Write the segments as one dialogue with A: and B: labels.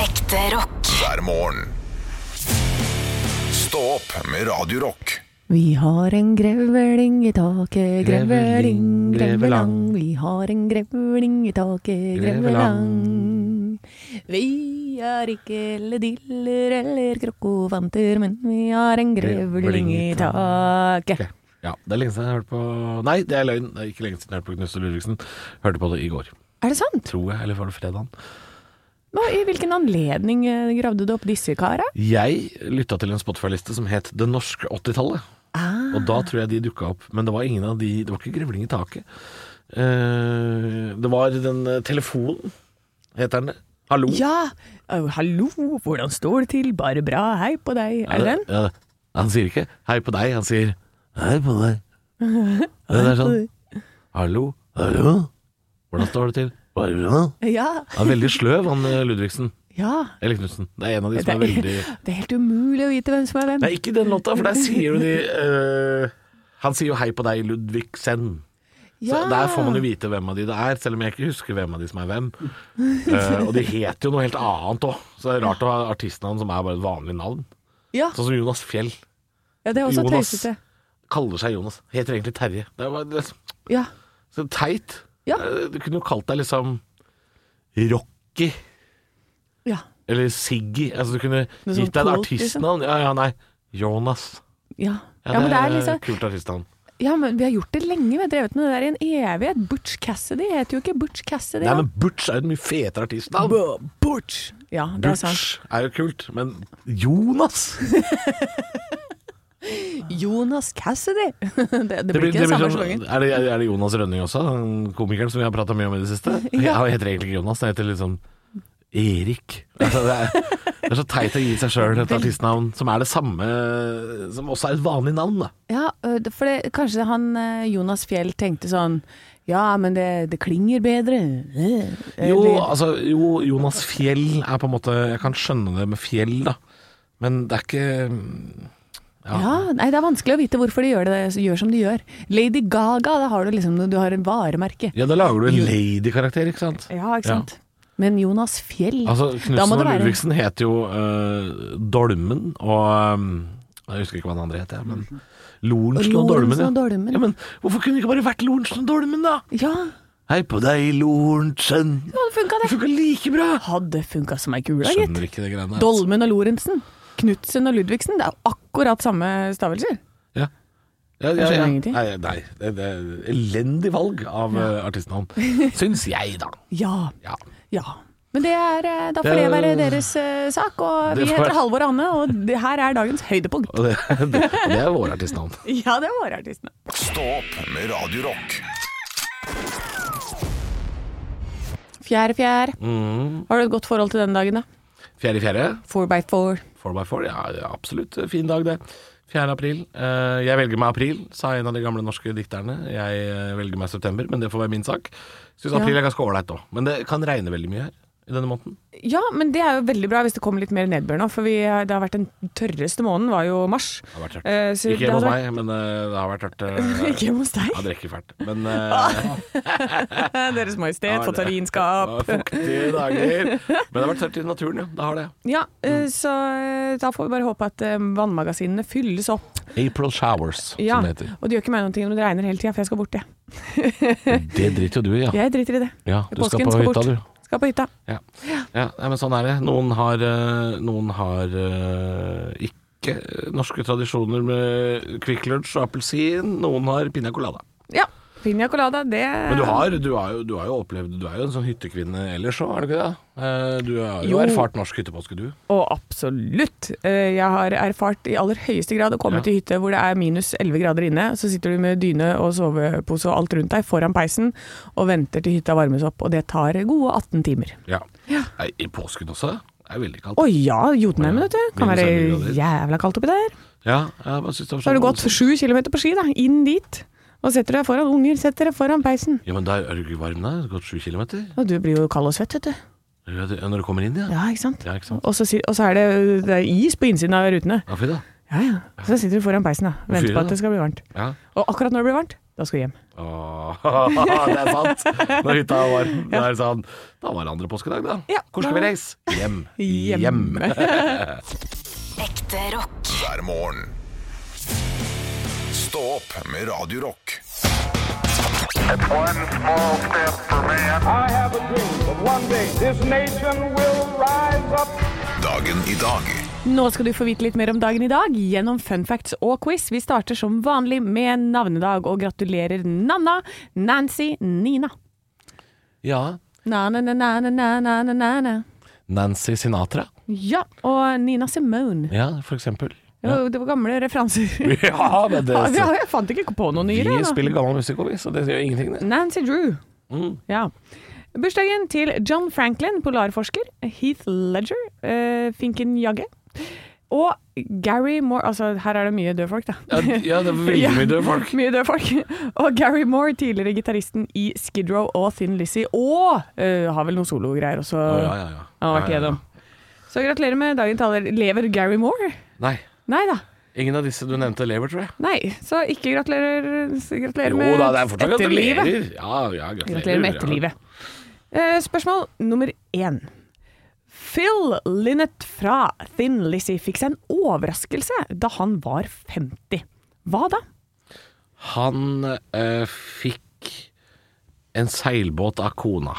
A: Ekte rock.
B: hver morgen. Stå opp med Radio Rock.
C: Vi har en grevling i taket, grevling,
D: Grevling,
C: grevelang.
D: grevelang.
C: Vi har en grevling i taket, grevelang.
D: Grevelang.
C: Vi er ikke lediller eller krokovanter, men vi har en grevling
D: Grevling
C: i
D: i
C: taket.
D: Ok. Ja, det er lenge siden jeg hørte på Nei, det er løgn. Det er ikke lenge siden jeg hørte på Knust og Ludvigsen. Hørte på det i går,
C: Er det sant?
D: tror jeg. Eller var det fredagen?
C: Og I hvilken anledning eh, gravde du opp disse kara?
D: Jeg lytta til en Spotify-liste som het Det norske 80-tallet.
C: Ah.
D: Og da tror jeg de dukka opp. Men det var ingen av de Det var ikke Grevling i taket. Eh, det var den eh, telefonen, heter den det. Hallo.
C: Ja, Au, hallo, hvordan står det til, bare bra, hei på deg, er det den?
D: Ja, det- han sier ikke 'hei på deg', han sier 'hei på deg'. Det er sånn 'hallo, hallo, hvordan står det til'? Bare bra.
C: Ja,
D: Han er veldig sløv, han eh, Ludvigsen.
C: ja.
D: Eller Knutsen. Det er en av de
C: Det
D: som
C: er,
D: er veldig
C: det er helt umulig å vite hvem som er hvem.
D: Nei, ikke den låta, for der sier jo de eh, Han sier jo 'hei på deg, Ludvigsen'. Så
C: Ja.
D: Der får man jo vite hvem av de det er, selv om jeg ikke husker hvem av de som er hvem. Eh, og de heter jo noe helt annet òg, så det er rart å ha artistnavn som er bare et vanlig navn.
C: Ja,
D: Sånn som Jonas Fjell
C: ja det er også
D: Jonas.
C: tøysete.
D: kaller seg Jonas. Heter egentlig Terje. Det er bare det er
C: Ja.
D: så teit.
C: Ja.
D: Eh, Du kunne jo kalt deg liksom Rocky
C: ja.
D: eller Siggy. Altså, du kunne
C: Noe sånn
D: gitt deg et
C: kult,
D: artistnavn. Ja, ja, nei. Jonas.
C: Ja. ja, men det er liksom
D: kult artistnavn.
C: Ja, men vi har gjort det lenge, vi har drevet med det der i en evighet. Butch Cassidy heter jo ikke Butch Cassidy.
D: Nei,
C: da.
D: men Butch er jo et mye fetere artistnavn.
C: Bu- Butch! Ja, det er sant.
D: Butch er jo kult, men Jonas
C: Jonas Cassidy! det, det, blir ikke
D: det
C: den samme
D: sånn-
C: slangen.
D: er, det, er det Jonas Rønning også, den komikeren som vi har prata mye om i det siste?
C: Ja.
D: Han heter egentlig ikke Jonas, han heter liksom Erik. Altså, det, er, det er så teit å gi seg sjøl et artistnavn som er det samme Som også er et vanlig navn, da.
C: Ja, ø, det- for det, kanskje han ø, Jonas Fjell tenkte sånn Ja, men det, det klinger bedre. Øh,
D: Jo,
C: eller-
D: altså, jo, Jonas Fjell er på en måte Jeg kan skjønne det med fjell, da. Men det er ikke
C: ja. Nei, det er vanskelig å vite hvorfor de gjør, det, gjør som de gjør. Lady Gaga, da har du liksom Du har et varemerke.
D: Ja, da lager du en lady-karakter, ikke sant?
C: Ja, ikke sant. Men Jonas Fjell
D: Altså,
C: Eh, Da må
D: Knutsen og
C: det være-
D: Ludvigsen het jo eh, Dolmen og eh, Jeg husker ikke hva den andre het, jeg, men Lorentzen og Dolmen.
C: Lorentzen
D: Ja.
C: og Dolmen.
D: ja, men hvorfor kunne det ikke bare vært Lorentzen og Dolmen, da?
C: Ja,
D: Hei på deg, Lorentzen.
C: det hadde funka,
D: Det
C: det.
D: funka like bra.
C: Hadde funka som ei kule, gitt.
D: Skjønner ikke det greiene der.
C: Dolmen og Lorentzen. Knutsen og Ludvigsen. Det er jo akkurat samme stavelser.
D: Ja. Ja,
C: Jeg
D: ja, ja.
C: skjønner ingenting.
D: Nei, nei det, det er elendig valg av eh, artistnavn, syns jeg, da.
C: Ja.
D: Ja.
C: Ja. Men det er, eh, da får det,
D: Det-
C: være deres eh, sak. Og
D: Det
C: vi
D: får
C: heter
D: være-
C: Halvor og Anne, og det her er dagens høydepunkt.
D: Og det, det, det er våre artistnavn.
C: Ja, det var artistene.
B: Stå opp med Radio Rock.
C: Fjær, fjær.
D: Mm.
C: Har du et godt forhold til denne dagen, da?
D: Fjerde i fjerde.
C: Four by four.
D: Four by four, ja, ja, absolutt. Fin dag, det. 4. april. Eh, jeg velger meg april, sa en av de gamle norske dikterne. Jeg eh, velger meg september, men det får være min sak. Syns
C: Ja.
D: april er ganske ålreit òg, men det kan regne veldig mye her i denne måneden.
C: Ja, men det er jo veldig bra hvis det kommer litt mer nedbør nå. For vi, eh, det har vært den tørreste måneden, var jo mars.
D: Det har vært tørt.
C: Eh, så det
D: Ikke hjemme hos
C: hadde vært-
D: meg, men eh, det har vært tørt. eh,
C: Ikke hjemme hos deg. Eh,
D: ja, det rekker fælt. Men eh,
C: Deres Majestet,
D: det- det
C: fatarinskap.
D: var fuktige dager. Men det har vært tørt i naturen, ja. Det har det.
C: Ja, eh,
D: Mm.
C: så eh, da får vi bare håpe at eh, vannmagasinene fylles opp.
D: April showers,
C: Ja,
D: som det heter.
C: og det gjør ikke meg noe om det regner hele tida, for jeg skal bort, jeg.
D: Det driter jo du i, ja.
C: Jeg driter i det.
D: ja du skal
C: Påsken
D: på hytta, du.
C: Skal på hytta.
D: Ja, ja nei, men sånn er det. Noen har, eh, noen har eh, ikke norske tradisjoner med Kvikk Lunsj og appelsin. Noen har piña colada.
C: Ja. Piña colada, det
D: Men du har, du, har jo, du har jo opplevd Du er jo en sånn hyttekvinne ellers òg, er du ikke det? Eh, Du har jo,
C: Jo.
D: erfart norsk hyttepåske, du.
C: Og absolutt. Eh, Jeg har erfart i aller høyeste grad å komme
D: Ja.
C: til hytte hvor det er minus 11 grader inne, så sitter du med dyne og sovepose og alt rundt deg foran peisen og venter til hytta varmes opp, og det tar gode 18 timer.
D: Ja.
C: Ja.
D: Nei, I påsken også. Det er veldig kaldt.
C: Å ja, Jotunheimen, vet du. Kan
D: Minus
C: være
D: 11 grader.
C: jævla kaldt oppi der.
D: Ja, jeg bare synes det var
C: Så har
D: sånn-
C: du gått sju kilometer på ski, da. Inn dit. Og setter deg foran unger, setter deg foran peisen.
D: Ja, men da er du ikke varm da? Du har Gått sju kilometer?
C: Og du blir jo kald og svett, vet du.
D: Ja, det- Når du kommer inn, ja.
C: Ja, ikke sant.
D: Ja, ikke sant.
C: Og så, si- og så er det, det er is på innsiden av rutene.
D: Ja, fy da.
C: Ja, ja. Så sitter du foran peisen da, venter
D: Fyrer,
C: på at
D: da.
C: det skal bli varmt.
D: Ja.
C: Og akkurat når det blir varmt, Da skal du hjem.
D: Åh, det er sant. Når hytta var varm. Det er sånn. Da var det andre påskedag, da.
C: Ja.
D: Hvor skal vi reise? Hjem.
C: Hjem.
A: Ekte rock.
B: hver morgen. Stå opp med Radio Rock.
E: It's one small step for man.
F: I have a dream that one day this nation will rise up.
B: Dagen i dag.
C: Nå skal du få vite litt mer om dagen i dag gjennom fun facts og quiz. Vi starter som vanlig med navnedag og gratulerer Nanna, Nancy, Nina.
D: Ja.
C: Na-na-na-na-na-na-na.
D: Nancy Sinatra.
C: Ja, og Nina Simone.
D: Ja, for eksempel.
C: Jo, Det var gamle referanser.
D: Ja, men det
C: Ja, Jeg fant ikke på noen nyere.
D: Vi
C: jeg, da.
D: spiller Mm. gammel musikk òg, vi, så det gjør ingenting, det.
C: Nancy Drew. Ja. Bursdagen til John Franklin, polarforsker, Heath Ledger, eh, Finken Jagge, og Gary Moore Altså, her er det mye døde folk, da.
D: Ja, ja, det er veldig
C: Ja,
D: mye døde folk.
C: mye døde folk. Og Gary Moore, tidligere gitaristen i Skid Row og Thin Lizzie, og eh, har vel noen sologreier også.
D: Å, ja, ja, ja.
C: Han har vært
D: Ja, ja, ja.
C: igjennom. Så gratulerer med dagen taler. Lever Gary Moore?
D: Nei.
C: Nei da.
D: Ingen av disse du nevnte lever, tror jeg.
C: Nei, så ikke gratulerer, gratulerer
D: Jo
C: med
D: da, det er fortsatt
C: etterlivet.
D: gratulerer. Ja, ja,
C: Gratulerer med etterlivet. Eh, spørsmål nummer én. Phil Linnet fra Thin Lizzie fikk seg en overraskelse da han var 50. Hva da?
D: Ja. Han eh, fikk en seilbåt av kona.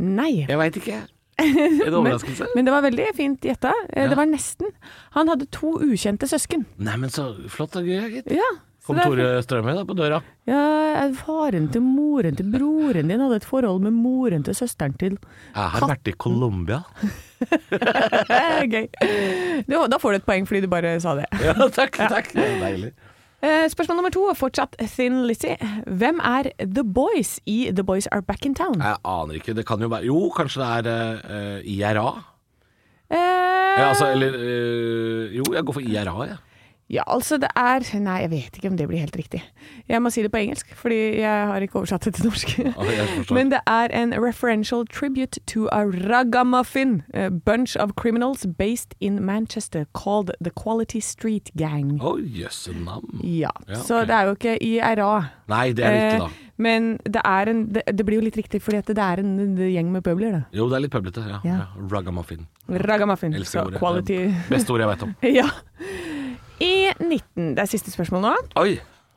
C: Nei.
D: Jeg veit ikke. En overraskelse?
C: Men det var veldig fint gjetta. Eh, Det var nesten. Han hadde to ukjente søsken.
D: Nei, men så flott og gøy, gitt.
C: Ja. så
D: Kom
C: det er
D: Tore Strømøy da på døra.
C: fint. Ja, eh, faren til moren til broren din hadde et forhold med moren til søsteren til
D: Jeg har vært i Colombia.
C: Eh, Gøy. Det- Da får du et poeng fordi du bare sa det.
D: Ja, takk, takk. Det er deilig.
C: Eh, Spørsmål nummer to, fortsatt Thin Lizzie. Hvem er The Boys i The Boys Are Back in Town?
D: Jeg aner ikke. Det kan jo være Jo, kanskje det er eh, IRA?
C: Eh,
D: Ja, altså, eller eh, Jo, jeg går for IRA, jeg.
C: ja, altså det er Nei, jeg vet ikke om det blir helt riktig. Jeg må si det på engelsk, fordi jeg har ikke oversatt det til norsk.
D: jeg forstår.
C: Men det er en referential tribute to a ragamuffin a bunch of criminals based in Manchester called The Quality Street Gang.
D: Å, jøsse navn.
C: Ja,
D: Ah, Ja,
C: Så
D: ok.
C: det er jo ikke IRA.
D: Nei, det er det ikke,
C: Eh,
D: da.
C: Men det, er en, det, det blir jo litt riktig, fordi at det er en, en gjeng med pøbler, da.
D: Jo, det er litt pøblete. Ja.
C: Ja.
D: Ja. Ragamuffin.
C: Ragamuffin.
D: Elsker
C: Så
D: ordet.
C: quality
D: Beste ordet jeg vet om.
C: Ja. I 19, det er siste spørsmål nå.
D: Oi!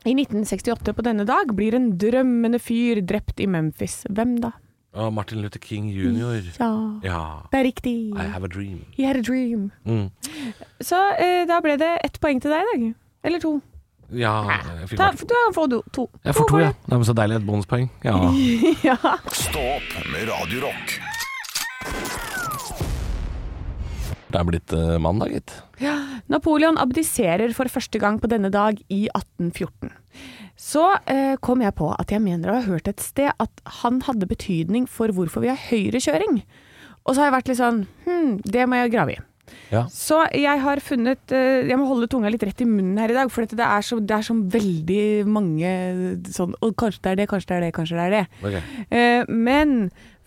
C: I 1968 på denne dag blir en drømmende fyr drept i Memphis. Hvem da?
D: Å, Martin Luther King jr.
C: Ja,
D: Ja.
C: det er riktig.
D: I have a dream.
C: You had a dream.
D: Mm.
C: Så eh, da ble det ett poeng til deg i dag. Eller to.
D: Ja, jeg fikk
C: Ta,
D: hvert-
C: da får du to.
D: Jeg får to,
C: for
D: ja.
C: det.
D: Det er så deilig. Et bonuspoeng. Ja.
B: Stå opp med Radio Rock.
D: Det er blitt eh, mandag, gitt.
C: Napoleon abdiserer for første gang på denne dag i 1814. Så eh, kom jeg på at jeg mener å ha hørt et sted at han hadde betydning for hvorfor vi har høyrekjøring. Og så har jeg vært litt sånn Hm, det må jeg grave i.
D: Ja.
C: Så jeg har funnet eh, Jeg må holde tunga litt rett i munnen her i dag, for dette, det, er så, det er så veldig mange sånn «Å, kanskje det er det, kanskje det er det, kanskje det er det.
D: Ok.
C: Eh, men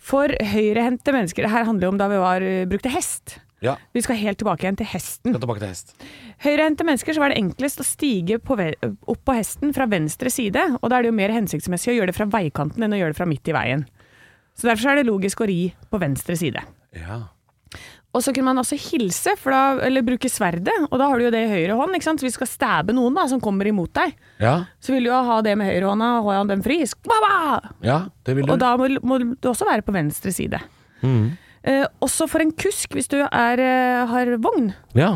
C: for høyrehendte mennesker Det her handler jo om da vi var, eh, brukte hest.
D: Ja.
C: Vi skal helt tilbake igjen til hesten.
D: Skal tilbake til hest.
C: Høyrehendte mennesker så var det enklest å stige på ve opp på hesten fra venstre side, og da er det jo mer hensiktsmessig å gjøre det fra veikanten enn å gjøre det fra midt i veien. Så derfor så er det logisk å ri på venstre side.
D: Ja.
C: Og så kunne man også hilse, for da, eller bruke sverdet, og da har du jo det i høyre hånd, ikke sant? Så hvis du skal stabbe noen da, som kommer imot deg,
D: Ja.
C: så vil du jo ha det med høyre hånda, og holde den fri. Skvabba!
D: ja, det vil du.
C: Og da må, må du også være på venstre side. Eh, også for en kusk, hvis du er, eh, har vogn,
D: Ja.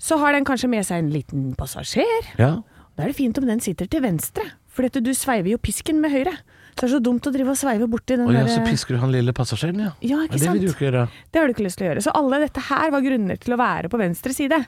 C: så har den kanskje med seg en liten passasjer.
D: ja.
C: Da er det fint om den sitter til venstre, for du sveiver jo pisken med høyre. Så det er så dumt å drive og sveive borti den
D: Og ja,
C: der- eh,
D: så pisker du han lille passasjeren, ja.
C: Ja, ikke
D: Det vil du
C: sant?
D: ikke gjøre.
C: Det har du ikke lyst til å gjøre. Så alle dette her var grunner til å være på venstre side.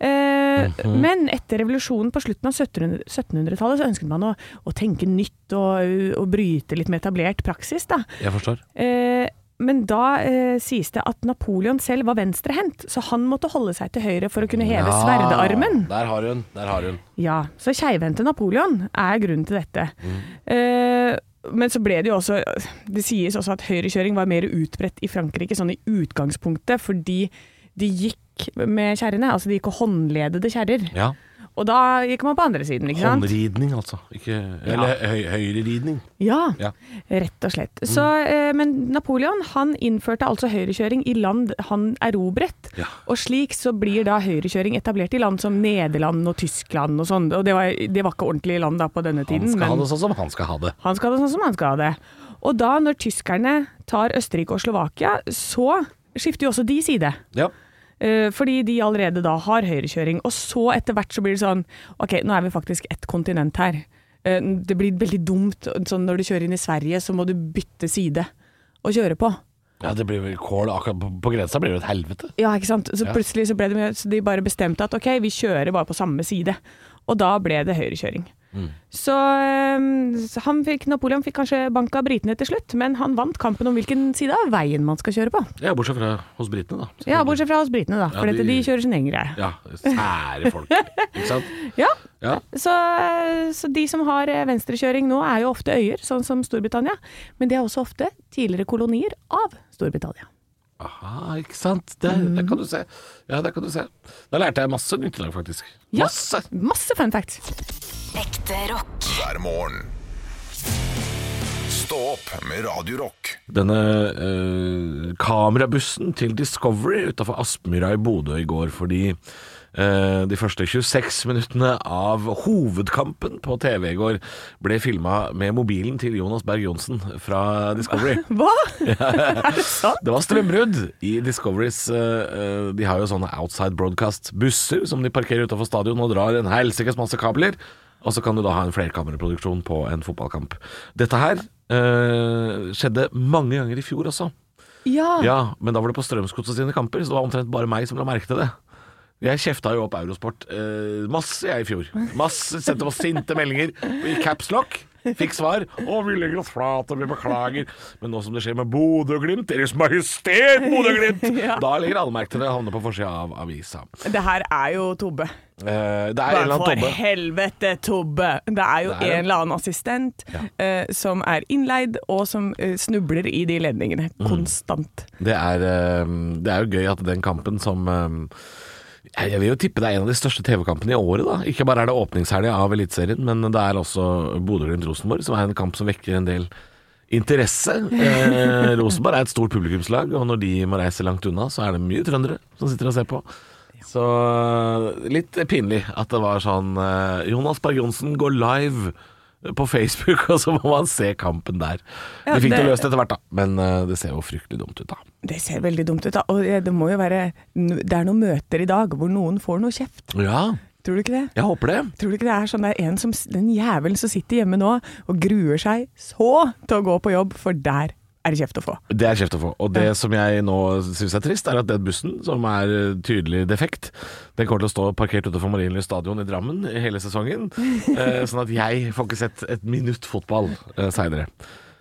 C: Eh,
D: Mhm.
C: Men etter revolusjonen på slutten av 1700- 1700-tallet så ønsket man å, å tenke nytt og, og bryte litt med etablert praksis, da.
D: Jeg forstår.
C: Eh, men da eh, sies det at Napoleon selv var venstrehendt, så han måtte holde seg til høyre for å kunne heve
D: Ja,
C: sverdearmen.
D: Ah, Der har hun. Der har hun.
C: Ja, så keivhendte Napoleon er grunnen til dette. Eh, men så ble det jo også Det sies også at høyrekjøring var mer utbredt i Frankrike sånn i utgangspunktet, fordi de gikk med kjerrene. Altså de gikk og håndledede kjerrer.
D: Ja.
C: Og da gikk man på andre siden, ikke sant?
D: Håndridning, altså. Ikke, eller høy, høyreridning.
C: Ja,
D: Ja. Mm.
C: rett og slett. Så, eh, men Napoleon han innførte altså høyrekjøring i land han erobret.
D: Ja.
C: Og slik så blir da høyrekjøring etablert i land som Nederland og Tyskland og sånn. Og det var, det var ikke ordentlige land da på denne
D: Han
C: tiden,
D: skal ha
C: men
D: det sånn som han skal ha det.
C: han skal ha det sånn som han skal ha det. Og da når tyskerne tar Østerrike og Slovakia, så skifter jo også de side.
D: Ja.
C: Eh, Fordi de allerede da har høyrekjøring. Og så etter hvert så blir det sånn Ok, nå er vi faktisk ett kontinent her. Eh, Det blir veldig dumt sånn når du kjører inn i Sverige, så må du bytte side å kjøre på.
D: ja, det blir vel kål akkurat på, på grensa. blir det jo et helvete.
C: Ja, ikke sant? Så
D: Ja.
C: plutselig så ble det mye- så de bare bestemte at ok, vi kjører bare på samme side. Og da ble det høyrekjøring. Så, eh, så han fikk, Napoleon fikk kanskje bank av britene til slutt, men han vant kampen om hvilken side av veien man skal kjøre på.
D: Ja, bortsett fra hos britene, da.
C: Ja, Bortsett fra hos britene, da, for
D: de-
C: dette, de kjører sin egen greie.
D: Ja, sære folk. Ikke sant?
C: Ja,
D: Ja.
C: Så, så de som har eh, venstrekjøring nå, er jo ofte øyer, sånn som Storbritannia. Men de er også ofte tidligere kolonier av Storbritannia.
D: Aha, ikke sant. Der, der kan du se. Ja, der kan du se. Da lærte jeg masse nytt i dag, faktisk.
C: Ja.
D: Masse!
C: Masse fun facts!
A: Ekte rock.
B: hver morgen. Stå opp med Radio Rock.
D: Denne eh, kamerabussen til Discovery utafor Aspmyra i Bodø i går fordi eh, de første 26 minuttene av hovedkampen på TV i går ble filma med mobilen til Jonas Berg Johnsen fra Discovery.
C: Hva?! er det sant?
D: Det var strømbrudd i Discoveries eh, eh, De har jo sånne outside broadcast-busser som de parkerer utenfor stadion og drar en helsikes masse kabler. Og så kan du da ha en flerkameraproduksjon på en fotballkamp. Dette her eh, skjedde mange ganger i fjor også.
C: Ja.
D: Ja, Men da var det på Strømsgodset sine kamper, så det var omtrent bare meg som la merke til det. Jeg kjefta jo opp Eurosport eh, masse jeg i fjor. Masse, Sendte oss sinte meldinger i caps lock. Fikk svar. 'Å, vi legger oss flate, vi beklager'. Men nå som det skjer med Bodø og Glimt Deres Majestet Bodø og Glimt!
C: Ja.
D: Da legger alle merke til det og havner på forsida av avisa.
C: Det her er jo Tobbe.
D: Eh, det er en eller annen
C: for
D: tobbe.
C: helvete, Tobbe! Det er jo
D: Det er det.
C: en eller annen assistent
D: Ja.
C: eh, som er innleid, og som eh, snubler i de ledningene.
D: Mm.
C: Konstant.
D: Det er, eh, det er jo gøy at den kampen som eh, Jeg vil jo tippe det er en av de største TV-kampene i året. da Ikke bare er det åpningshelga av Eliteserien, men det er også Bodø-Glimt-Rosenborg, som er en kamp som vekker en del interesse. Eh, Rosenborg er et stort publikumslag, og når de må reise langt unna, så er det mye trøndere som sitter og ser på. Så eh, litt pinlig at det var sånn eh, Jonas Berg Johnsen går live på Facebook, og så må man se kampen der.
C: Ja,
D: de fikk det
C: det-
D: løst etter hvert, da, men eh, det ser jo fryktelig dumt ut, da.
C: Det ser veldig dumt ut, da. Og eh, det må jo være Det er noen møter i dag hvor noen får noe kjeft.
D: Ja,
C: Tror du ikke det?
D: jeg håper det.
C: Tror du ikke det er sånn det er en som, den jævelen som sitter hjemme nå og gruer seg så til å gå på jobb, for der er det kjeft å få.
D: Det er kjeft å få. Og det som jeg nå syns er trist, er at den bussen, som er eh, tydelig defekt, den kommer til å stå parkert utenfor Marienlyst stadion i Drammen i hele sesongen. Eh, sånn at jeg får ikke sett et minutt fotball eh, seinere.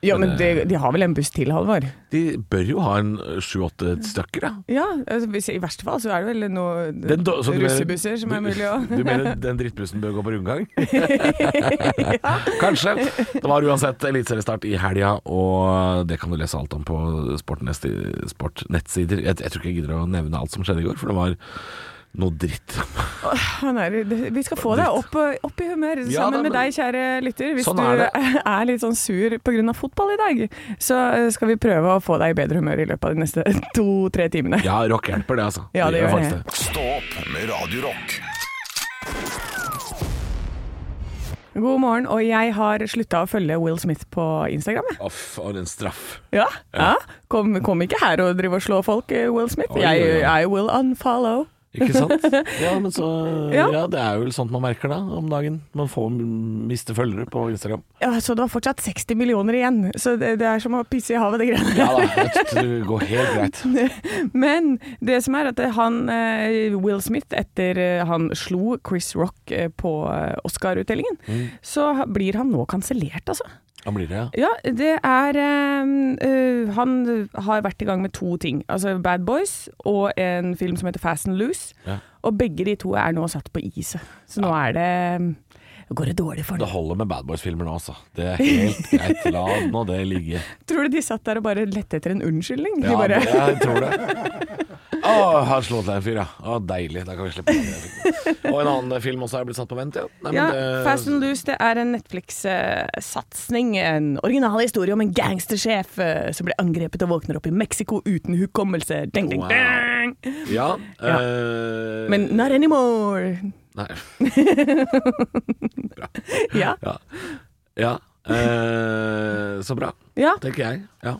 C: Ja, men de, de har vel en buss til, Halvor?
D: De bør jo ha en eh, sju-åtte stykker, da.
C: Ja, altså, hvis, i verste fall så er det vel noen
D: Den do- så du mener-
C: russebusser som er mulig å
D: Du mener den drittbussen bør gå på rundgang? Kanskje. Det var uansett eliteseriestart i helga, og det kan du lese alt om på Sportnest- sportnettsider. Jeg, jeg tror ikke jeg gidder å nevne alt som skjedde i går, for det var noe dritt.
C: Han er, det- Vi skal få deg opp, opp i humør
D: Ja,
C: sammen
D: nei, men-
C: med deg, kjære lytter. Hvis
D: Sånn
C: du
D: er
C: er, litt sånn sur pga. fotball i dag, så eh, skal vi prøve å få deg i bedre humør i løpet av de neste to-tre timene.
D: Ja, rock hjelper det, altså.
C: Ja, det gjør
D: faktisk
C: det.
B: Stå opp med Radio Rock.
C: God morgen, og jeg har slutta å følge Will Smith på Instagram. jeg.
D: Å, for en straff.
C: Ja, ja. Kom, kom ikke her og drive og slå folk, eh, Will Smith.
D: Oi,
C: jeg,
D: oi, oi.
C: I will unfollow.
D: Ikke sant? Ja, men så
C: Ja.
D: ja. det er vel sånt man merker da om dagen. Man får miste følgere på Instagram.
C: Ja, så du har fortsatt 60 millioner igjen, så det, det er som å pisse i havet, det greiene.
D: Ja da, jeg tror det går helt greit.
C: Men det som er at det- han, eh, Will Smith, etter eh, han slo Chris Rock eh, på eh, Oscar-utdelingen,
D: Mm.
C: så ha- blir han nå kansellert, altså.
D: Da blir det, ja.
C: Ja, det er ehm, øh, Han har vært i gang med to ting. Altså Bad Boys og en film som heter Fast and Loose.
D: Ja.
C: Og begge de to er nå satt på iset. Så nå er det nå Går det dårlig for
D: Det
C: dem?
D: holder med Bad Boys-filmer nå, altså. Det er helt greit. La nå det ligge.
C: Tror du de satt der og bare lette etter en unnskyldning?
D: Ja,
C: de bare
D: jeg tror det. Å, han slo til en fyr, ja. Å, deilig. Da kan vi slippe den. Og en annen film også er blitt satt på vent, ja. Nei, men
C: Ja,
D: det-
C: Fast and Loose det er en Netflix-satsing. En original historie om en gangstersjef eh, som blir angrepet og våkner opp i Mexico uten hukommelse. Ding, ding,
D: Wow.
C: ding.
D: Ja. eh,
C: Men not anymore.
D: Nei.
C: Ja.
D: Ja. ja. eh, så bra,
C: Ja.
D: tenker jeg. Ja.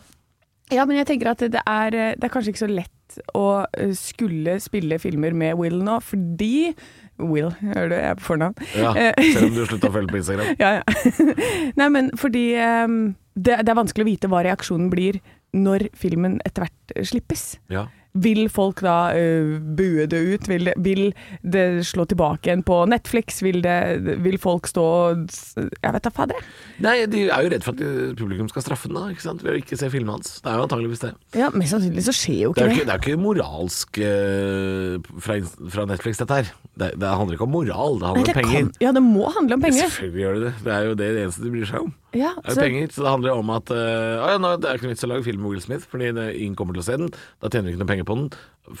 C: ja, men jeg tenker at det er, eh, det er kanskje ikke så lett å eh, skulle spille filmer med Will nå, fordi Will, hører du, jeg er på fornavn.
D: ja.
C: Eh,
D: Selv om du slutta å følge på Instagram.
C: Ja, ja. Nei, men fordi ehm, det, det er vanskelig å vite hva reaksjonen blir når filmen etter hvert eh, slippes.
D: Ja.
C: Vil folk da eh, bue det ut? Vil det, vil det slå tilbake igjen på Netflix? Vil, det, vil folk stå og s- Jeg vet da fader, jeg.
D: Nei, de er jo redd for at eh, publikum skal straffe den da, ikke sant? ved å ikke se filmene hans. Det er jo antageligvis det.
C: Ja, mest sannsynlig så skjer jo ikke
D: Det er jo
C: det.
D: ikke, det er jo ikke moralsk eh, fra, fra Netflix, dette her. Det, det handler ikke om moral, det
C: Nei,
D: handler
C: det
D: om penger.
C: kan, ja, det må handle om penger.
D: Selvfølgelig gjør det det. Det er jo det eneste de bryr seg om.
C: Ja,
D: Det er jo
C: så-
D: penger, så det handler jo om at eh, «Å ja, nå, Det er ikke noe vits i å lage film med Will Smith, fordi det- ingen kommer til å se den. Da tjener vi ikke noe penger på den.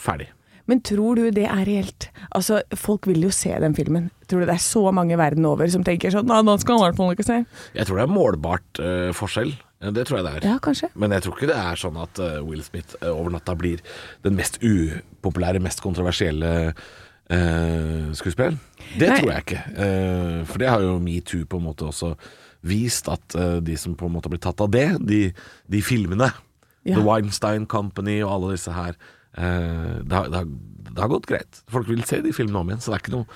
D: Ferdig.
C: Men tror du det er reelt? Altså, Folk vil jo se den filmen. Tror du det er så mange verden over som tenker sånn Nei, den skal han i hvert fall ikke se.
D: Jeg tror det er målbart eh, forskjell. Ja, Det tror jeg det er.
C: Ja, kanskje.
D: Men jeg tror ikke det er sånn at eh, Will Smith eh, over natta blir den mest upopulære, mest kontroversielle eh, skuespilleren. Det
C: Nei.
D: tror jeg ikke. Eh, for det har jo metoo på en måte også vist, at eh, de som på en måte blir tatt av det, de, de filmene,
C: Ja.
D: The Weinstein Company og alle disse her, eh, det, har, det, har, det har gått greit. Folk vil se de filmene om igjen, så det er ikke noe,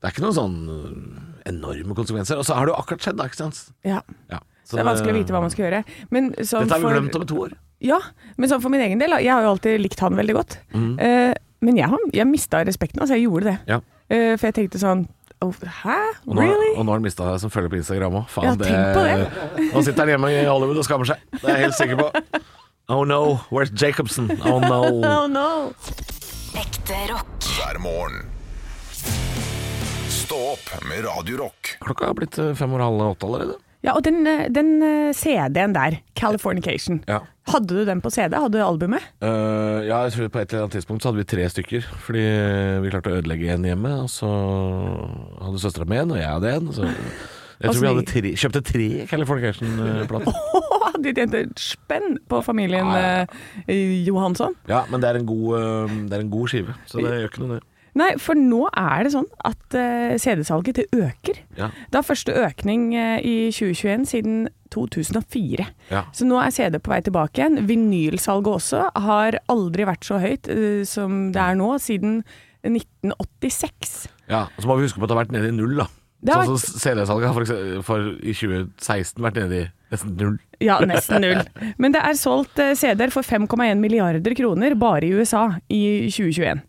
D: det er ikke noen sånn eh, enorme konsekvenser. Og så har det jo akkurat skjedd, da, ikke sant?
C: Ja.
D: Ja.
C: Så det er vanskelig å vite hva man skal gjøre. Men sånn
D: Sånn, øh, Dette har vi
C: for-
D: glemt om to år.
C: Ja, men sånn for min egen del, da, jeg har jo alltid likt han veldig godt.
D: Mm.
C: Eh, men jeg, har- jeg mista respekten, altså jeg gjorde det.
D: Ja.
C: Eh, for jeg tenkte sånn oh, Hæ?
D: Og nå,
C: Really?
D: og nå har han mista deg som følger på Instagram òg.
C: Ja, tenk på
D: Nå sitter han hjemme i Hollywood og skammer seg. Det er jeg helt sikker på. Oh no, where's Jacobsen? Oh no.
C: Oh no!
A: Ekte rock.
B: hver morgen. Stå opp med Radio Rock.
D: Klokka er blitt eh, fem over halv åtte allerede.
C: Ja, og den, eh, den eh, CD-en der, Californication.
D: Ja.
C: Hadde du den på CD? Hadde du albumet?
D: Eh, ja, jeg tror på et eller annet tidspunkt så hadde vi tre stykker. Fordi eh, vi klarte å ødelegge en hjemme. Og så hadde søstera mi en, og jeg hadde en. Så jeg
C: Altså,
D: tror vi hadde
C: de-
D: tre, kjøpte tre eh, Californication-plater.
C: de tjente et spenn på familien
D: Ja,
C: eh, Johansson.
D: Ja, men det er, en god, eh, det er en god skive, så det gjør ikke noe, det.
C: Nei, for nå er det sånn at eh, CD-salget det øker.
D: Ja.
C: Det er første økning eh, i 2021 siden 2004.
D: Ja.
C: Så nå er CD på vei tilbake igjen. Vinylsalget også har aldri vært så høyt eh, som det er nå, siden 1986.
D: Ja, og så må vi huske på at det har vært nede i null, da.
C: Det har
D: Sånn som CD-salget har for, ekse- for i 2016 vært nede i nesten null.
C: Ja, nesten null. Men det er solgt eh, CD-er for 5,1 milliarder kroner bare i USA i 2021.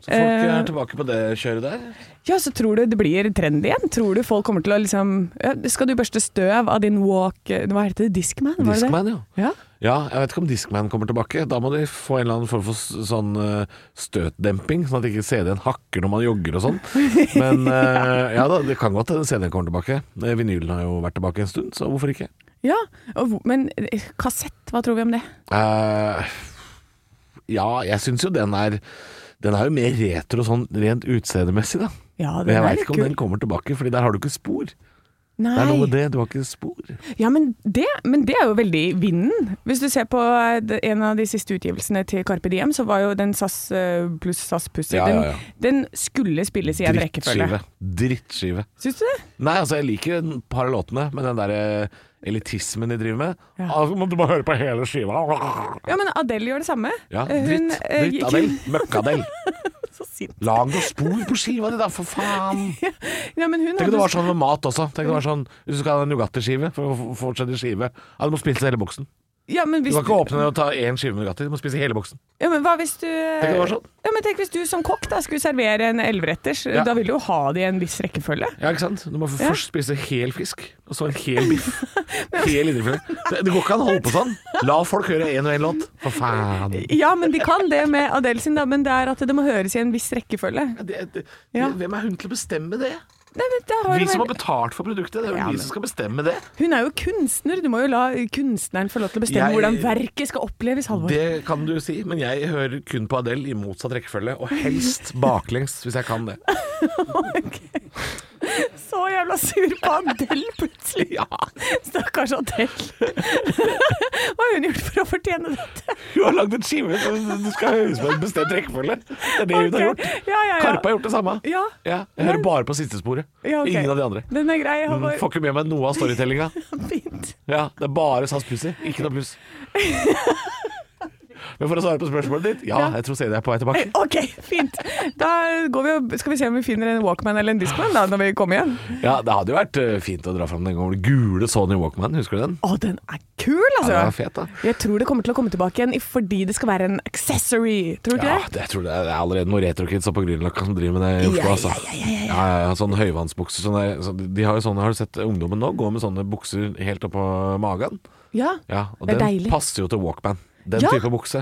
D: Så folk
C: Eh.
D: er tilbake på det kjøret der.
C: Ja, så tror du det blir trend igjen? Tror du folk kommer til å liksom ja, Skal du børste støv av din walk eh, Hva heter det? Discman? Var det det?
D: Discman, ja.
C: Ja.
D: Ja, jeg vet ikke om Discman kommer tilbake. Da må de få en eller annen form for s- sånn eh, støtdemping, sånn at ikke CD-en hakker når man jogger og sånn. Men eh, ja da, det kan godt hende CD-en kommer tilbake. Eh, Vinylen har jo vært tilbake en stund, så hvorfor ikke?
C: Ja, og hvor- men eh, kassett, hva tror vi om det?
D: Eh, ja, jeg syns jo den er Den er jo mer retro sånn rent utseendemessig, da.
C: Ja,
D: Men jeg
C: er
D: veit
C: litt
D: ikke om
C: kul.
D: den kommer tilbake, Fordi der har du ikke spor. Det er noe med
C: Nei,
D: det, du har ikke spor.
C: ja, men, det, men det er jo veldig i vinden. Hvis du ser på eh, det- en av de siste utgivelsene til Carpe Diem, så var jo den SAS eh, pluss SAS Pussy
D: Ja, ja, ja.
C: Den, den skulle spilles i en rekkefølge.
D: Drittskive.
C: Syns du det?
D: Nei, altså, jeg liker et par av låtene, men den derre elitismen de driver med
C: Ja.
D: altså, må Du må høre på hele skiva.
C: Ja, men Adele gjør det samme.
D: Ja,
C: Eh, hun,
D: dritt.
C: eh,
D: Dritt
C: gikk-
D: Adele. Møkkadel.
C: Så sint.
D: Lag noe spor på skiva di, da, for faen!
C: Ja, men hun
D: Tenk om
C: hadde-
D: det var sånn med mat også. Tenk om det var sånn Hvis du skal ha en Nugatti-skive for å f- fortsette skive Ja, du må spise hele boksen.
C: ja, men
D: Du
C: hvis
D: kan ikke åpne og ta én skive med Nugatti, du må spise hele boksen.
C: Ja, men hva hvis du eh,
D: Tenk om det var sånn.
C: Ja, men tenk hvis du som kokk da skulle servere en elveretters.
D: Ja.
C: Da vil du jo ha det i en viss rekkefølge.
D: Ja, ikke sant? Du må f-
C: Ja.
D: først spise hel fisk, og så en hel biff. Hel indrefilet. Det, det går ikke an å holde på sånn. La folk høre én og én låt. For faen.
C: Ja, men de kan det med Adele sin, da, men det er at det må høres i en viss rekkefølge.
D: Det, det,
C: Ja.
D: Hvem er hun til å bestemme det?
C: Nei, men det har
D: Vi
C: jo
D: som har
C: vært-
D: betalt for produktet, det er vel
C: Ja, men-
D: vi som skal bestemme det.
C: Hun er jo kunstner, du må jo la kunstneren få lov til å bestemme
D: Jeg-
C: hvordan verket skal oppleves, Halvor.
D: Det kan du si, men jeg hører kun på Adele i motsatt rekkefølge, og helst baklengs hvis jeg kan det.
C: Så jævla sur på Adele plutselig.
D: Ja,
C: Stakkars Adele. Hva har hun gjort for å fortjene dette?
D: Hun har lagd en skive, så du skal høres på en bestemt rekkefølge. Det er det hun har
C: Ok.
D: gjort.
C: Ja, ja, ja.
D: Karpe har gjort det samme.
C: Ja.
D: jeg hører bare på siste sporet.
C: Ja, ok.
D: Ingen av de andre.
C: Den er grei,
D: Mm,
C: Halvor.
D: Får ikke med meg noe av storytellinga.
C: Fint.
D: Ja, det er bare SAS Pussy, ikke noe pluss. Men for å svare på spørsmålet ditt ja, jeg tror CD er på vei tilbake.
C: Ok, fint. Da går vi og skal vi se om vi finner en Walkman eller en Discman da, når vi kommer hjem.
D: Ja, Det hadde jo vært eh, fint å dra fram den gamle gule Sony Walkman, husker du den?
C: Å, den er kul, altså!
D: Ja, den er fet, da.
C: Jeg tror det kommer til å komme tilbake igjen i- fordi det skal være en accessory. Tror du ikke
D: Ja,
C: det?
D: det, jeg tror det er, det er allerede noen retrokids oppe på Grünerløkka som driver med det i Oslo,
C: Ja,
D: altså.
C: ja, ja, ja, ja.
D: ja, ja, sånn høyvannsbukser. Sånne, så de- de har jo sånne, har du sett ungdommen nå gå med sånne bukser helt oppå magen?
C: Ja,
D: Ja, og
C: det er
D: den
C: deilig.
D: passer jo til Walkman. Den
C: Ja.
D: type bukse.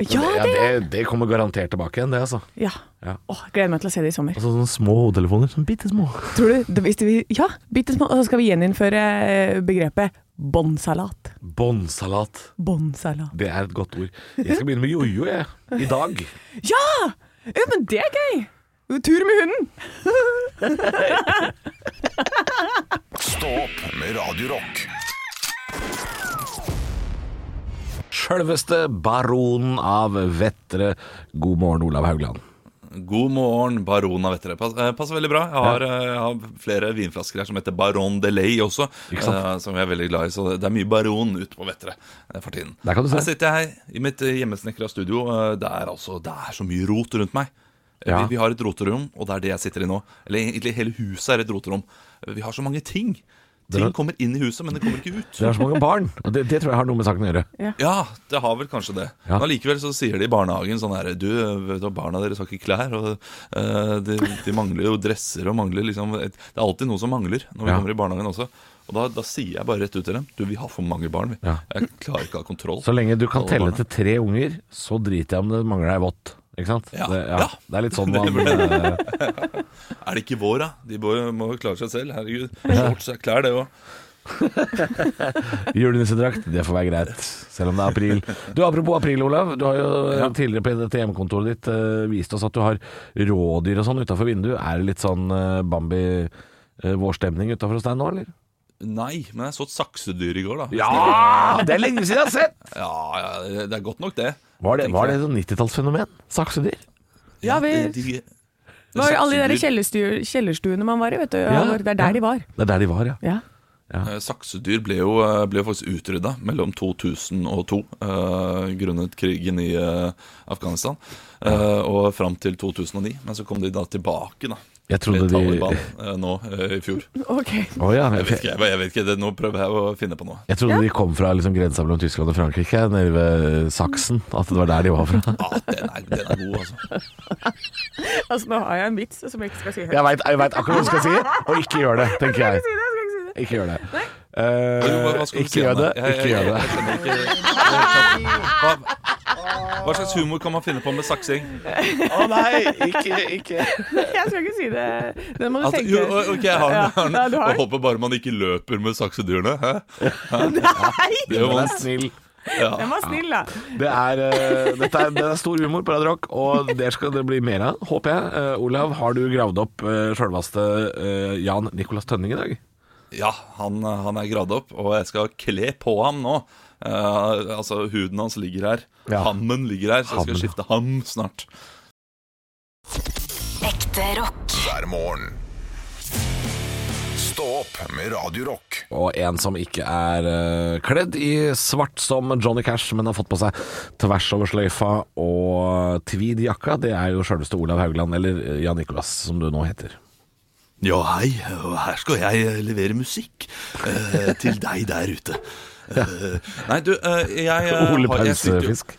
C: Ja, det,
D: det, det kommer garantert tilbake igjen, det, altså.
C: ja.
D: Ja.
C: Åh, gleder meg til å se det i sommer.
D: Altså Sånne små hodetelefoner. Sånn bitte små.
C: Tror du, det- hvis vi, ja, bitte små, og så skal vi gjeninnføre eh, begrepet båndsalat.
D: Båndsalat.
C: Båndsalat.
D: Det er et godt ord. Jeg skal begynne med jojo, jeg. I dag.
C: Ja! ja! Men det er gøy! Tur med hunden!
B: Stå opp med Radio Rock.
D: Sjølveste baronen av Vettre. God morgen, Olav Haugland.
G: God morgen, baron av Vettere. Pass, eh, passer veldig bra. Jeg har, eh, jeg har flere vinflasker her som heter Baron de Ley også,
D: Ikke sant?
G: eh, som jeg er veldig glad i. Så det det er mye baron ute på Vettere eh, for tiden.
D: Der kan du se.
G: Her sitter jeg i mitt eh, hjemmesnekra studio. eh, Det er altså det er så mye rot rundt meg. Eh,
D: Ja.
G: Vi, vi har et roterom, og det er det jeg sitter i nå. Eller egentlig hele huset er et roterom. Eh, Vi har så mange ting. Ting kommer inn i huset, men det kommer ikke ut.
D: Dere har så mange barn. Og det, det tror jeg har noe med saken å gjøre.
G: Ja, det har vel kanskje det.
D: Ja.
G: Men allikevel så sier de i barnehagen sånn her Du, vet du, hva, barna deres har ikke klær, og eh, de, de mangler jo dresser og mangler liksom et, Det er alltid noe som mangler når vi
D: Ja.
G: kommer i barnehagen også. Og da, da sier jeg bare rett ut til dem Du, vi har for mange barn, vi.
D: Ja.
G: Jeg klarer ikke å ha kontroll.
D: Så lenge du kan
G: Alle
D: telle
G: barna.
D: til tre unger, så driter jeg om det mangler ei vått. Ikke sant?
G: Ja.
D: Det,
G: Ja.
D: det er litt sånn man eh,
G: Er det ikke vår, da? De må jo- må jo klare seg selv. Herregud. Shorts er klær, det òg.
D: Julenissedrakt, det får være greit. Selv om det er april. Du, Apropos april, Olav. Du har jo eh, tidligere på dette hjemmekontoret ditt eh, vist oss at du har rådyr og sånn utafor vinduet. Er det litt sånn eh, Bambi-vårstemning utafor hos deg nå, eller?
G: Nei, men jeg så et saksedyr i går, da.
D: Ja! Det er lenge siden jeg har sett!
G: Ja, ja, det er godt nok, det.
D: Var det,
G: Tenker
D: var det
G: jeg.
D: et sånn 90-tallsfenomen? Saksedyr?
C: Ja, vi
G: De- de-
C: det var jo alle de der
G: saksedyr-
C: kjellerstu- kjellerstuene man var i, vet du. Halvor. Det er
D: ja.
C: der de var.
D: Det er der de var, ja.
C: Ja.
G: Eh, Saksedyr ble jo, eh, ble jo faktisk utrydda mellom 2002 eh, grunnet krigen i eh, Afghanistan eh, og fram til 2009. Men så kom de da tilbake, da.
D: Jeg trodde
G: til
D: de
G: Taliban
D: Å
G: eh, nå eh, i fjor.
C: Ok.
D: ja.
G: Jeg vet ikke, jeg, jeg vet ikke det, nå prøver jeg å finne på noe.
D: Jeg trodde de kom fra liksom, grensa mellom Tyskland og Frankrike, nede ved Saksen. At det var der de var fra.
G: Ja, Ah, den er, den er god, altså.
C: Altså, nå har jeg en vits som jeg ikke skal si høyt.
D: Jeg veit akkurat hva du skal si, og ikke gjør det, tenker jeg.
C: Jeg skal ikke si det.
D: Ikke gjør det.
G: Hva,
D: Eh,
G: hva skal du si
D: ikke gjør
G: om
D: det.
G: Jeg- jeg-
D: Ikke gjør det.
G: Jeg, jeg, skjønner ikke hva, hva slags humor kan man finne på med saksing?
D: Å nei, ikke, ikke.
C: Jeg skal ikke si det. Den må du
G: Altså,
C: tenke.
G: jo, ok, jeg har den.
C: Ja, ja,
G: Jeg har
C: du
G: den.
C: har
G: Og
C: den.
G: håper bare man ikke løper med saksedyrene. Hæ? Det gjør
D: Den
G: man
D: er snill.
C: Den var snill, da.
D: Det er, eh, dette er, det er stor humor på Radio Rock, og det skal det bli mer av, håper jeg. Eh, Olav, har du gravd opp uh, sjølveste eh, Jan Nicolas Tønning i dag?
G: Ja, han, han er gradd opp, og jeg skal kle på ham nå. Eh, altså, huden hans ligger her.
D: Ja.
G: Hammen ligger her, så jeg
D: Hammen.
G: skal skifte ham snart.
A: Ekte rock.
B: hver morgen. Stå opp med Radio Rock.
D: Og en som ikke er eh, kledd i svart som Johnny Cash, men har fått på seg tvers over sløyfa og tweed jakka, det er jo sjølveste Olav Haugland, eller eh, Jan Nicolas, som du nå heter.
G: Ja, hei, og her skal jeg levere musikk eh, til deg der ute. Eh, nei, du, eh, jeg, eh,
D: Ole
G: har- jeg sliter jo-
D: Pausefisk.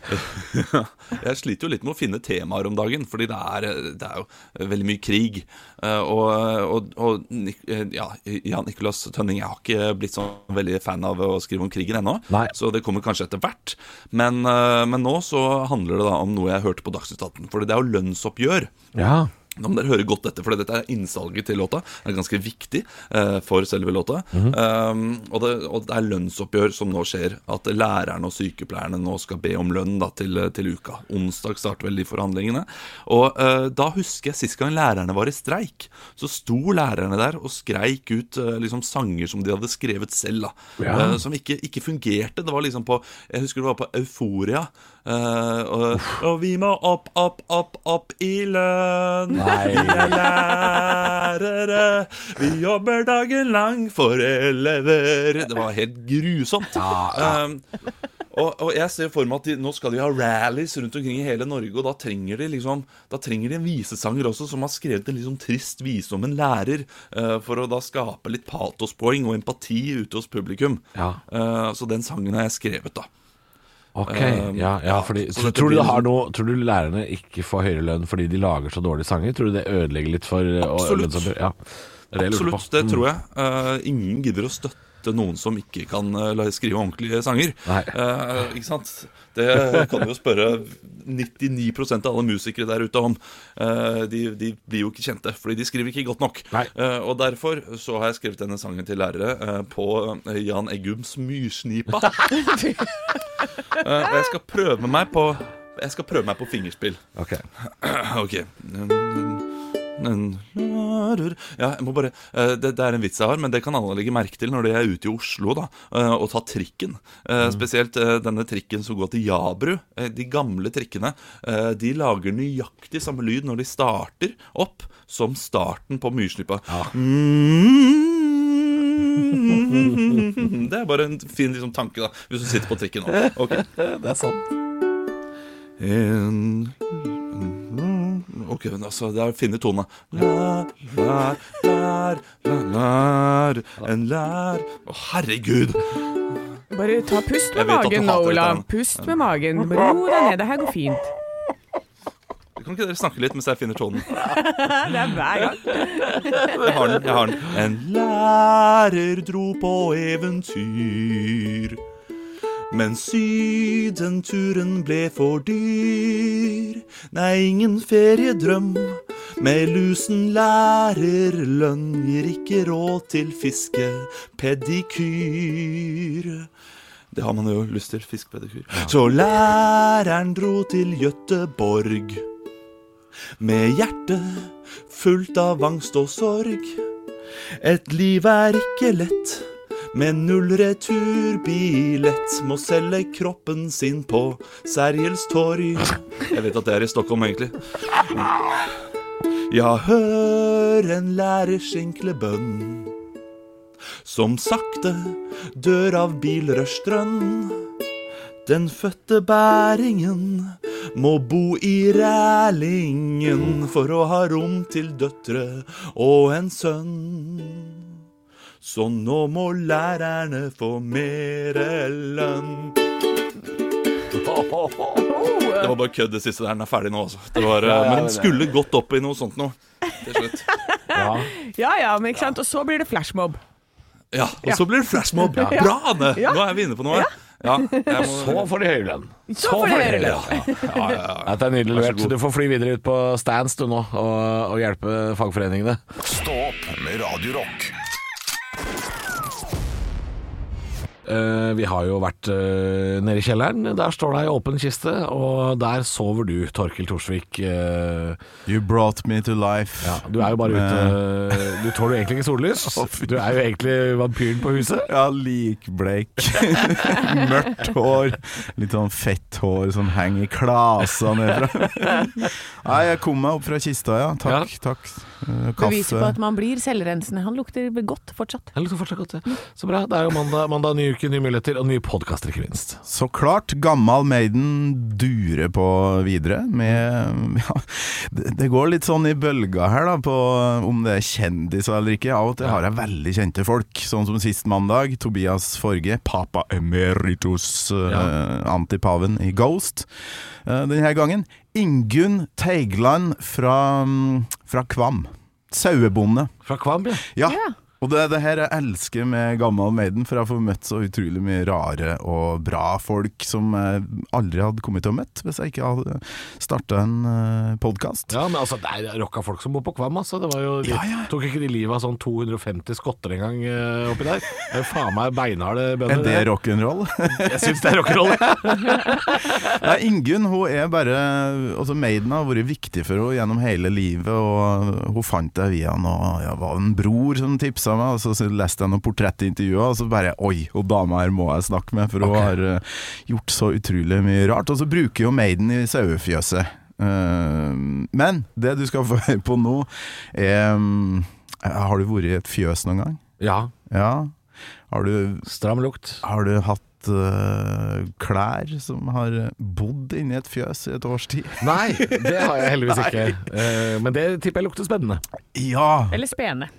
G: Ja, jeg sliter jo litt med å finne temaer om dagen, fordi det er, det er jo veldig mye krig. Eh, Og, og, og Nik- eh, ja, Jan Nicolas Tønning, jeg har ikke blitt sånn veldig fan av å skrive om krigen ennå,
D: Nei.
G: så det kommer kanskje etter hvert. Men, eh, men nå så handler det da om noe jeg hørte på Dagsnytt 18, for det er jo lønnsoppgjør.
D: Ja.
G: Nå må dere høre godt etter, for dette er innsalget til låta. Det er ganske viktig eh, for selve låta. um, og, det, og det er lønnsoppgjør som nå skjer. At lærerne og sykepleierne nå skal be om lønn da, til, til uka. Onsdag starter vel de forhandlingene. Og eh, da husker jeg sist gang lærerne var i streik. Så sto lærerne der og skreik ut eh, liksom sanger som de hadde skrevet selv. da.
D: Ja.
G: Eh, som ikke, ikke fungerte. Det var liksom på Jeg husker det var på Euforia. eh, og, og vi må opp, opp, opp, opp i lønn. Vi er lærere, vi jobber dagen lang for elever. Det var helt grusomt. Um, og, og jeg ser for meg at de, nå skal de ha rallies rundt omkring i hele Norge, og da trenger de liksom Da trenger de en visesanger også, som har skrevet en litt sånn trist vise om en lærer, eh, for å da skape litt patospoeng og empati ute hos publikum.
D: Ja.
G: Eh, så den sangen har jeg skrevet, da.
D: Ok,
G: Um,
D: ja, ja, fordi,
G: så
D: så,
G: dette
D: tror, du
G: blir
D: det har
G: liksom-
D: noe, tror du lærerne ikke får høyere lønn fordi de lager så dårlige sanger? Tror du det ødelegger litt for eh, å-
G: Absolutt.
D: lønnsoppgjør? Ja, det er det jeg lurer på. Mm.
G: Absolutt, det tror jeg. Eh, ingen gidder å støtte noen som ikke kan eh, la- skrive ordentlige sanger.
D: Nei.
G: Eh, ikke sant? Det kan du jo spørre 99 av alle musikere der ute om. Eh, de, de blir jo ikke kjente, fordi de skriver ikke godt nok.
D: Nei.
G: Eh, og derfor så har jeg skrevet denne sangen til lærere eh, på eh, Jan Eggums Myrsnipa. Eh, og jeg skal prøve meg på Jeg skal prøve meg på fingerspill.
D: Ok.
G: Ok ja, jeg må bare eh, det, det er en vits jeg har, men det kan alle legge merke til når de er ute i Oslo da eh, og tar trikken.
D: Mm.
G: Eh, Spesielt eh, denne trikken som går til Jabru. Eh, De gamle trikkene eh, De lager nøyaktig samme lyd når de starter opp, som starten på Myrsnippa. Mm. Det er bare en fin liksom, tanke, da, hvis du sitter på trikken nå. Ok
D: Det er sant.
G: en Ok, men altså, det er fine tone. Lær, lær, lær, lær, lær, en lær Å, herregud!
C: Bare ta pust
G: Jeg
C: med
G: vet at du
C: magen,
G: hater dette,
C: Olav.
G: men-
C: Pust med magen. Ro deg ned. Det her går fint.
G: Kan ikke dere snakke litt mens jeg finner tonen?
C: Det er hver gang.
G: Jeg har den. jeg har den En lærer dro på eventyr. Men sydenturen ble for dyr. Nei, ingen feriedrøm. Med lusen lærerlønn gir ikke råd til fiskepedikyr. Det har man jo lyst til. Fiskepedikyr. Så læreren dro til Gøteborg. Med hjertet fullt av angst og sorg. Et liv er ikke lett, med null returbillett. Må selge kroppen sin på Sergels torg. Jeg vet at det er i Stockholm, egentlig. Ja, hør en lærerskinklebønn som sakte dør av bilrushtrønn. Den fødte bæringen må bo i Rælingen for å ha rom til døtre og en sønn. Så nå må lærerne få mere lønn. Det var bare kødd, det siste der. Den er ferdig nå, altså. Det var, eh, men den skulle gått opp i noe sånt noe. Til slutt.
D: Ja.
C: Ja ja, men ikke sant. Og så blir det flashmob.
G: Ja, og så blir det flashmob. Bra, Anne! Nå er vi inne på noe. Ja, jeg må,
D: Så får de høyere lønn.
C: Så får de høyere
D: lønn. Ja. Dette er nydelig levert. Du får fly videre ut på stands du nå og, og hjelpe fagforeningene.
B: Stå opp med Radio Rock.
D: Eh, vi har jo vært eh, nede i kjelleren. Der står det ei åpen kiste, og der sover du, Torkil Torsvik. Eh,
H: You brought me to life.
D: ja, du er jo bare ute eh, Du tåler jo egentlig ikke sollys. Du er jo egentlig vampyren på huset.
H: Ja, likbleik. Mørkt hår. Litt sånn fett hår som henger i klasa nedfra. Nei, jeg kom meg opp fra kista, ja. Takk. takk. Eh,
C: Bevis på
H: Kaffe.
C: at man blir selvrensende. Han lukter godt fortsatt.
D: Jeg lukter liksom fortsatt godt, jeg. Så bra. Det er jo mandag, mandag ny uke, nye muligheter, og nye podkaster, ikke minst.
H: Så klart, gammal Maiden durer på videre med ja, Det det går litt sånn i bølger her, da, på om det er kjendiser eller ikke. Av og til har jeg veldig kjente folk, sånn som sist mandag. Tobias Forge, papa emeritus, eh, antipaven i Ghost. Eh, denne gangen Ingunn Teigland fra, mm, fra Kvam. Sauebonde.
D: Fra Kvam, ja.
H: Ja,
C: Ja.
G: Og det er det her jeg elsker med Gammal Maiden, for jeg får møtt så utrolig mye rare og bra folk som jeg aldri hadde kommet til å møtt hvis jeg ikke hadde starta en eh, podkast.
D: Ja, men altså, det er rocka folk som bor på Kvam, altså. Det var jo, de,
G: Ja, ja.
D: Tok ikke de livet av sånn 250 skotter en gang eh, oppi der? Det er jo faen meg beinharde
G: Er
D: bønder.
G: det
D: der.
G: rock'n'roll?
D: Jeg syns det er rock'n'roll. jeg.
G: Nei, Ingunn hun er bare Altså Maiden har vært viktig for henne gjennom hele livet. Og Hun fant jeg via noe ja, det var en bror som tipsa meg, og så så leste jeg noen portrettintervjuer, og så bare Oi, hun dama her må jeg snakke med, for hun har eh, gjort så utrolig mye rart. Og så bruker jo Maiden i sauefjøset. Eh, men det du skal få høre på nå, er eh, Har du vært i et fjøs noen gang?
D: Ja.
G: Ja. Har du
D: Stram lukt.
G: har du hatt øh, klær som har øh, bodd inni et fjøs i et års tid?
D: Nei, det har jeg heldigvis ikke. Eh, men det tipper jeg lukter spennende.
G: Ja!
C: Eller spene.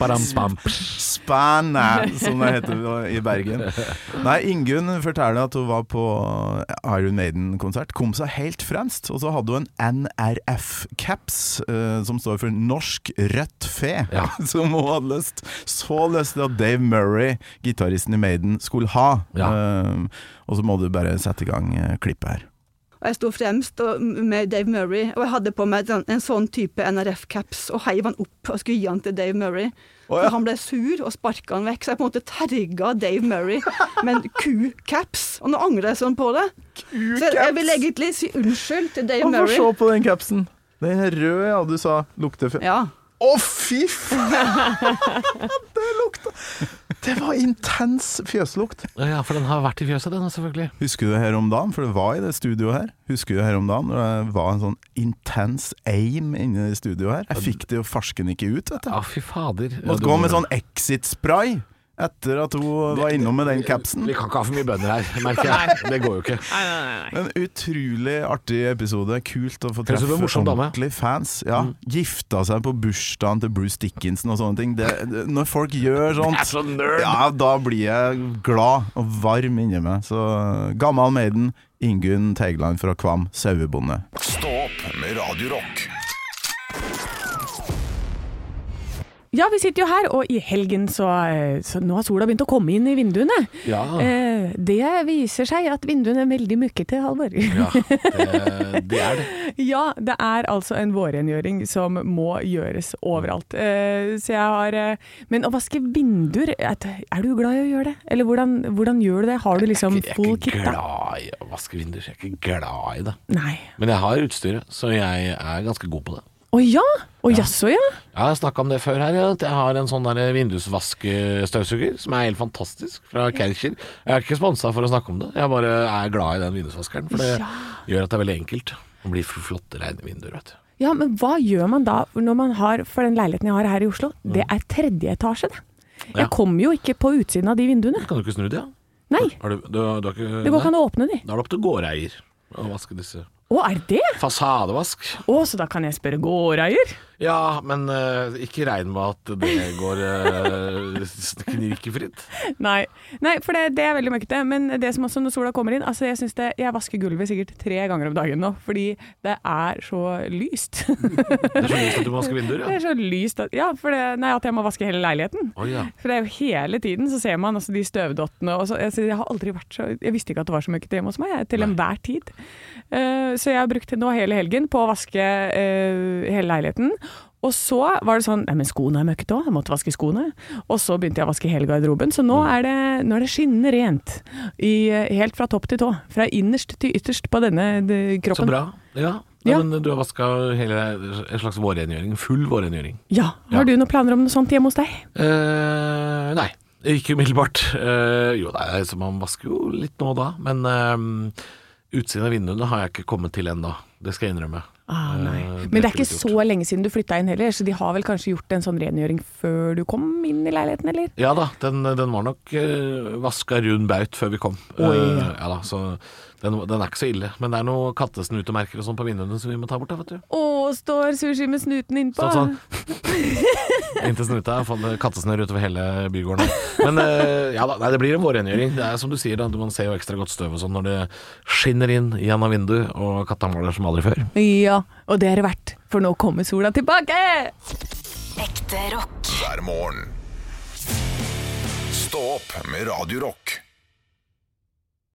D: Baram, bam.
G: Spanne, som det heter i Bergen. Nei, Ingunn forteller at hun var på Iron Maiden-konsert, kom seg helt fremst, og så hadde hun en NRF-caps, øh, som står for Norsk Rødt Fe,
D: Ja.
G: som hun hadde lyst, så lyst til at Dave Murray, gitaristen i Maiden, skulle ha.
D: Ja.
G: Ehm, og så må du bare sette i gang øh, klippet her.
I: Og jeg sto fremst og, med Dave Murray, og jeg hadde på meg en, en sånn type NRF-caps og heiv han opp og skulle gi han til Dave Murray. Så han ble sur og sparka han vekk, så jeg på en måte terga Dave Murray med en ku-caps. Og nå angrer jeg sånn på det. Så eh, jeg, jeg vil egentlig si unnskyld til Dave
G: Han får
I: Murray.
G: se på den capsen. Den er rød, ja, du sa lukter fjøs. Å,
I: Ja.
G: fy faen! det lukta Det var intens fjøslukt.
D: Ja, for den har vært i fjøset, den, altså, selvfølgelig.
G: Husker du det her om dagen, for det var i det studioet her. Husker du det her om dagen, når det var en sånn intens aim inne i studioet her? Jeg fikk det jo farsken ikke ut, vet
D: Ja,
G: du.
D: fy fader.
G: Måtte gå med sånn exit-spray etter at hun var innom med den capsen.
D: Vi kan ikke ha for mye bønder her, merker jeg. Det går jo ikke.
G: En utrolig artig episode. Kult å få
D: Høres ut
G: treffe
D: som en morsom dame. Mm.
G: ordentlige fans. Ja, Gifta seg på bursdagen til Bruce Dickinson og sånne ting. Det, det, når folk gjør sånt,
D: så nerd!
G: ja, da blir jeg glad og varm inni meg. Så gammal Maiden, Ingunn Teigland fra Kvam, sauebonde.
J: Stå opp med Radio Rock.
C: Ja, vi sitter jo her, og i helgen så, eh, så Nå har sola begynt å komme inn i vinduene.
D: Ja.
C: Eh, det viser seg at vinduene er veldig møkkete, Halvor.
D: Ja, det, det er det.
C: Ja, det er altså en vårrengjøring som må gjøres overalt. Eh, så jeg har eh, Men å vaske vinduer, er er du glad i å gjøre det? Eller hvordan, hvordan gjør du det? Har du liksom
D: Jeg er
C: full
D: ikke
C: kit? da?
D: glad i å vaske vinduer. Jeg er ikke glad i det.
C: Nei.
D: Men jeg har utstyret, så jeg er ganske god på det.
C: Å ja! Å jaså, ja.
D: Jeg har snakka om det før her, ja, at jeg har en sånn der vindusvaskestøvsuger som er helt fantastisk, fra Kercher. Jeg er ikke sponsa for å snakke om det, jeg bare er glad i den vindusvaskeren. For det
C: Ja.
D: gjør at det er veldig enkelt. Det blir flotte, rene vinduer, vet du.
C: Ja, men hva gjør man da når man har For den leiligheten jeg har her i Oslo, det er tredje etasje, det.
D: Ja.
C: Jeg kommer jo ikke på utsiden av de vinduene.
D: Kan du ikke snu det, ja?
C: Nei.
D: Har du, du, du har ikke
C: Det går ikke an
D: nei?
C: å åpne de.
D: Da er det opp til gårdeier å vaske disse.
C: Å, er det?
D: Fasadevask.
C: Å, så da kan jeg spørre gårdeier?
D: Ja, men eh, ikke regn med at det går uh, knirkefritt.
C: Nei. Nei, for det, det er veldig møkkete. Men det som også når sola kommer inn altså Jeg synes det, jeg vasker gulvet sikkert tre ganger om dagen nå, fordi det er så lyst.
D: Det er så lyst at du må vaske vinduer,
C: det
D: ja.
C: er så lyst at, ja, for det, nei, at jeg må vaske hele leiligheten.
D: Å, ja.
C: For det er jo hele tiden så ser man altså, de støvdottene og så, jeg, synes- jeg har aldri vært så Jeg visste ikke at det var så møkkete hjemme hos meg, jeg, til enhver tid. Eh, så jeg har brukt nå hele helgen på å vaske eh, hele leiligheten. Og så var det sånn Nei, men skoene er møkkete òg, jeg måtte vaske skoene. Og så begynte jeg å vaske hele garderoben. Så
D: Mm.
C: nå er det, nå er det skinnende rent. I, eh, helt fra topp til tå. Fra innerst til ytterst på denne de,
D: Så
C: kroppen.
D: bra. Ja. Nei,
C: Ja.
D: Men du har vaska hele en slags vårrengjøring. Full vårrengjøring.
C: Ja.
D: Ja.
C: Har du noen planer om noe sånt hjemme hos deg?
D: Eh, nei. Ikke umiddelbart. Eh, jo, det er, så man vasker jo litt nå og da, men eh, utsiden av vinduene har jeg ikke kommet til ennå. Det skal jeg innrømme.
C: Ah, nei.
D: Eh,
C: Men det er ikke
D: blitt
C: så
D: gjort.
C: lenge siden du flytta inn heller, så de har vel kanskje gjort en sånn rengjøring før du kom inn i leiligheten, eller?
D: Ja da, den, den var nok uh, vaska rund baut før vi kom.
C: Oi.
D: Eh, ja da, så den, den er ikke så ille. Men det er noen kattesnutemerker og sånn på vinduene som vi må ta bort. Da, vet du.
C: Å, står sushi med snuten innpå!
D: Sånn sånn. Inntil snuta. jeg har fått Kattesnørr utover hele bygården. Men eh, ja da, nei, det blir en vårrengjøring. Det er som du sier, da, man ser jo ekstra godt støv og sånn når det skinner inn gjennom vinduet, og katta maler som aldri før.
C: Ja, og det er det verdt, for nå kommer sola tilbake!
A: Ekte Ekte rock.
B: hver morgen. Stå opp med Radio Rock.